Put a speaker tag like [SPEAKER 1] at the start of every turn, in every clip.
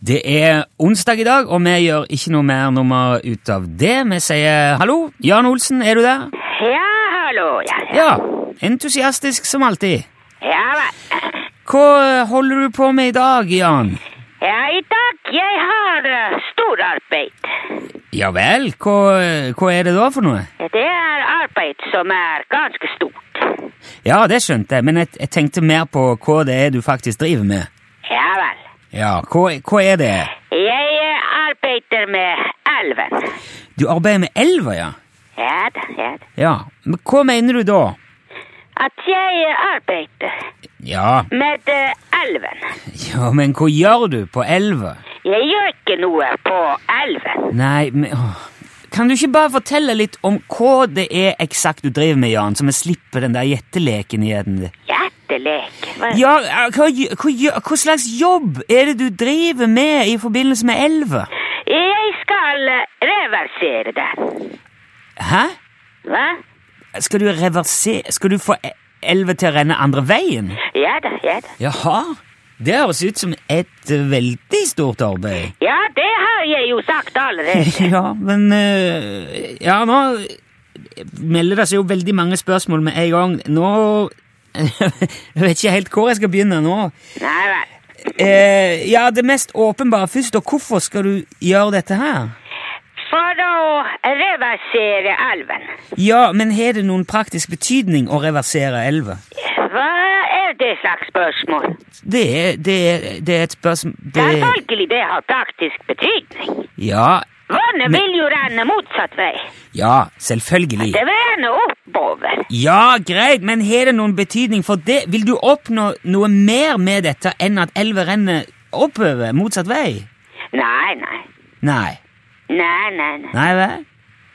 [SPEAKER 1] Det er onsdag i dag, og vi gjør ikke noe mer nummer ut av det. Vi sier hallo. Jan Olsen, er du der?
[SPEAKER 2] Ja, hallo. Ja, ja.
[SPEAKER 1] Ja. Entusiastisk som alltid.
[SPEAKER 2] ja vel.
[SPEAKER 1] Hva holder du på med i dag, Jan?
[SPEAKER 2] Ja, i dag jeg har eh, stor arbeid.
[SPEAKER 1] Ja vel, hva, hva er det da for noe?
[SPEAKER 2] Det er arbeid som er ganske stort.
[SPEAKER 1] Ja, det skjønte jeg, men jeg, jeg tenkte mer på hva det er du faktisk driver med.
[SPEAKER 2] Ja vel.
[SPEAKER 1] Ja, hva, hva er det?
[SPEAKER 2] Jeg eh, arbeider med elven.
[SPEAKER 1] Du arbeider med elva, ja?
[SPEAKER 2] Ja da, ja da.
[SPEAKER 1] Ja, men hva mener du da?
[SPEAKER 2] At jeg eh, arbeider
[SPEAKER 1] Ja,
[SPEAKER 2] med eh, elven.
[SPEAKER 1] ja men hva gjør du på elva?
[SPEAKER 2] Jeg gjør ikke noe på elven.
[SPEAKER 1] Nei, men åh. Kan du ikke bare fortelle litt om hva det er eksakt du driver med, Jan, så vi slipper den der gjetteleken igjen?
[SPEAKER 2] Hjertelek. Hva-
[SPEAKER 1] Ja, eh, hva, gj- hva, gjør- hva slags jobb er det du driver med i forbindelse med elva?
[SPEAKER 2] Jeg skal eh, reversere den.
[SPEAKER 1] Hæ?
[SPEAKER 2] Hva?
[SPEAKER 1] Skal du reversere Skal du få e- elva til å renne andre veien?
[SPEAKER 2] Ja da, ja da.
[SPEAKER 1] Jaha. Det høres ut som et eh, veldig stort arbeid.
[SPEAKER 2] Ja, det har jeg jo sagt allerede.
[SPEAKER 1] Ja, men eh, Ja, nå melder det seg jo veldig mange spørsmål med en gang. Nå Jeg vet ikke helt hvor jeg skal begynne nå.
[SPEAKER 2] Nei vel.
[SPEAKER 1] Eh, ja, det mest åpenbare først, og hvorfor skal du gjøre dette her?
[SPEAKER 2] For å reversere elven.
[SPEAKER 1] Ja, men har det noen praktisk betydning å reversere elva?
[SPEAKER 2] Hva er det slags spørsmål?
[SPEAKER 1] Det er, det er, det er et spørsmål det,
[SPEAKER 2] Selvfølgelig det har praktisk betydning.
[SPEAKER 1] Ja,
[SPEAKER 2] Vannet
[SPEAKER 1] Men-
[SPEAKER 2] vil jo renne motsatt vei.
[SPEAKER 1] ja, selvfølgelig.
[SPEAKER 2] Det vil renne oppover.
[SPEAKER 1] Ja, greit, men har det noen betydning for det? Vil du oppnå noe mer med dette enn at elva renner oppover, motsatt vei?
[SPEAKER 2] Nei, nei.
[SPEAKER 1] Nei.
[SPEAKER 2] Nei, nei, nei.
[SPEAKER 1] Nei vel?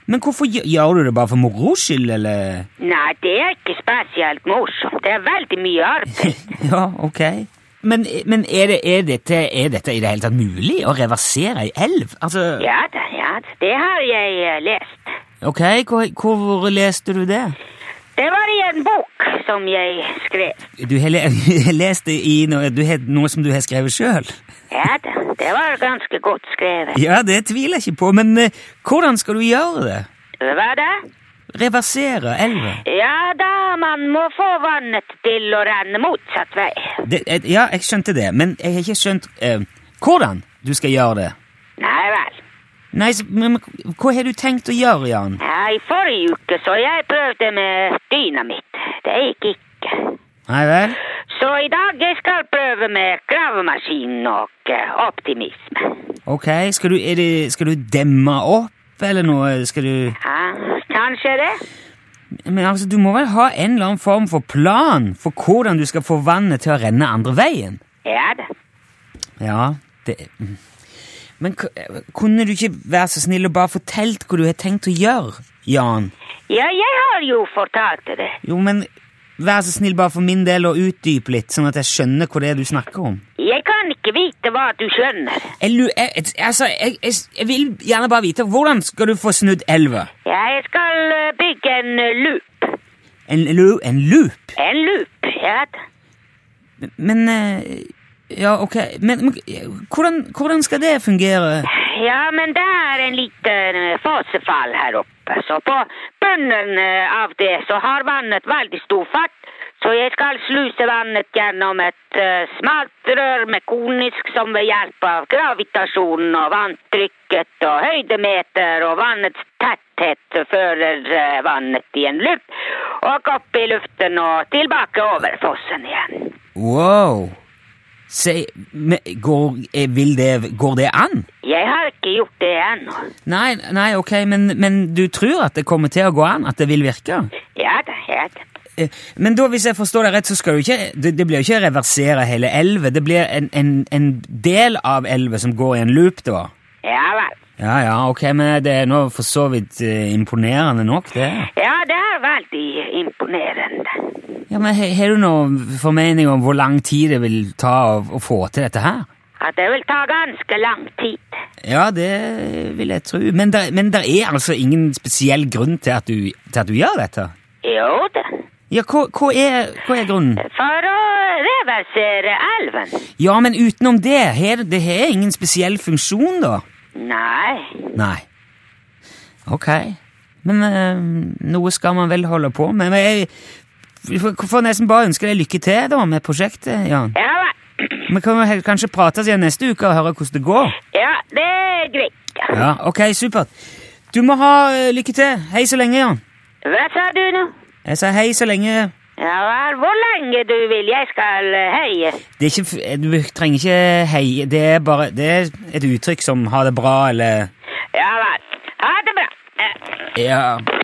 [SPEAKER 1] Men hvorfor gjør- gjør du det bare for moro skyld, eller?
[SPEAKER 2] Nei, det er ikke spesielt morsomt. Det er veldig mye arbeid.
[SPEAKER 1] ja, ok. Men, men er, det, er, dette, er dette i det hele tatt mulig å reversere ei elv? Altså,
[SPEAKER 2] Ja da, ja da. Det har jeg eh, lest.
[SPEAKER 1] ok, hvor, hvor leste du det?
[SPEAKER 2] Det var i en bok som jeg skrev.
[SPEAKER 1] Du har le- lest det i noe, du har, noe som du har skrevet sjøl?
[SPEAKER 2] Ja da, det var ganske godt skrevet.
[SPEAKER 1] Ja, det tviler jeg ikke på, men eh, hvordan skal du gjøre det?
[SPEAKER 2] Hva da?
[SPEAKER 1] Reversere elva?
[SPEAKER 2] Ja da, man må få vannet til å renne motsatt vei.
[SPEAKER 1] Det, eh, ja, jeg skjønte det, men jeg har ikke skjønt eh, hvordan du skal gjøre det.
[SPEAKER 2] Nei vel.
[SPEAKER 1] Nei, s- men, men Hva har du tenkt å gjøre, Jan?
[SPEAKER 2] Ja, I forrige uke så jeg prøvde med dynamitt. Det gikk ikke.
[SPEAKER 1] Nei vel?
[SPEAKER 2] Så i dag jeg skal prøve med gravemaskin og eh, optimisme.
[SPEAKER 1] Ok, skal du, er det, skal du demme opp, eller noe? Skal du
[SPEAKER 2] Ja, kanskje det?
[SPEAKER 1] Men altså, du må vel ha en eller annen form for plan for hvordan du skal få vannet til å renne andre veien?
[SPEAKER 2] Ja da.
[SPEAKER 1] Ja, det mm. Men k- eh, kunne du ikke være så snill og bare fortelt hva du har tenkt å gjøre, Jan?
[SPEAKER 2] Ja, jeg har jo fortalt det.
[SPEAKER 1] Jo, men vær så snill bare for min del å utdype litt, sånn at jeg skjønner hva det er du snakker om.
[SPEAKER 2] Jeg kan ikke vite hva du skjønner.
[SPEAKER 1] Jeg, lu- jeg, jeg- altså, jeg, jeg, jeg vil gjerne bare vite hvordan skal du få snudd elva?
[SPEAKER 2] Jeg skal eh, bygge en eh, loop.
[SPEAKER 1] En, lu- en loop?
[SPEAKER 2] En loop, ja da.
[SPEAKER 1] Men eh, Ja, ok. Men, men eh, hvordan, hvordan skal det fungere?
[SPEAKER 2] Ja, men det er en liten eh, fossefall her oppe. Så på bunnen eh, av det så har vannet veldig stor fart. Så jeg skal sluse vannet gjennom et eh, smalt rør med konisk som ved hjelp av gravitasjonen og vanntrykket og høydemeter og vannets tetthet fører eh, vannet i en loop og opp i luften og tilbake over fossen igjen.
[SPEAKER 1] Wow! Se, men, går, eh, vil det, går det an?
[SPEAKER 2] Jeg har ikke gjort det ennå.
[SPEAKER 1] Nei, nei, ok, men, men du tror at det kommer til å gå an? At det vil virke?
[SPEAKER 2] Ja da, ja da.
[SPEAKER 1] Eh, Men da, hvis jeg forstår deg rett, så skal du ikke, det, det blir jo ikke å reversere hele elva. Det blir en, en, en del av elva som går i en loop, da.
[SPEAKER 2] Ja vel.
[SPEAKER 1] Ja, ja, ok, men det er nå for så vidt eh, imponerende nok, det.
[SPEAKER 2] Ja, det er veldig imponerende.
[SPEAKER 1] Ja, men he- Har du noen formening om hvor lang tid det vil ta å, å få til dette her?
[SPEAKER 2] At det vil ta ganske lang tid.
[SPEAKER 1] Ja, det vil jeg tro. Men der, men der er altså ingen spesiell grunn til at du, til at du gjør dette?
[SPEAKER 2] Jo da.
[SPEAKER 1] Ja, hva, hva, er, hva er grunnen?
[SPEAKER 2] For å reversere elven.
[SPEAKER 1] Ja, men utenom det, har det har ingen spesiell funksjon, da?
[SPEAKER 2] Nei.
[SPEAKER 1] Nei. Ok. Men eh, noe skal man vel holde på med. Men jeg vi får får nesten bare ønske deg lykke til da med prosjektet, Jan.
[SPEAKER 2] Ja vel.
[SPEAKER 1] Vi kan jo he- kanskje prates igjen neste uke og høre hvordan det går.
[SPEAKER 2] Ja, det er greit.
[SPEAKER 1] Ja, ok, supert. Du må ha eh, lykke til. Hei så lenge, Jan.
[SPEAKER 2] Hva sa du nå?
[SPEAKER 1] Jeg sa hei så lenge.
[SPEAKER 2] Ja vel, hvor lenge du vil jeg skal eh, heie.
[SPEAKER 1] Det er ikke, f- eh, du trenger ikke hei. Det er bare det er et uttrykk som ha det bra, eller
[SPEAKER 2] Ja vel. Ha det bra. Eh,
[SPEAKER 1] Ja.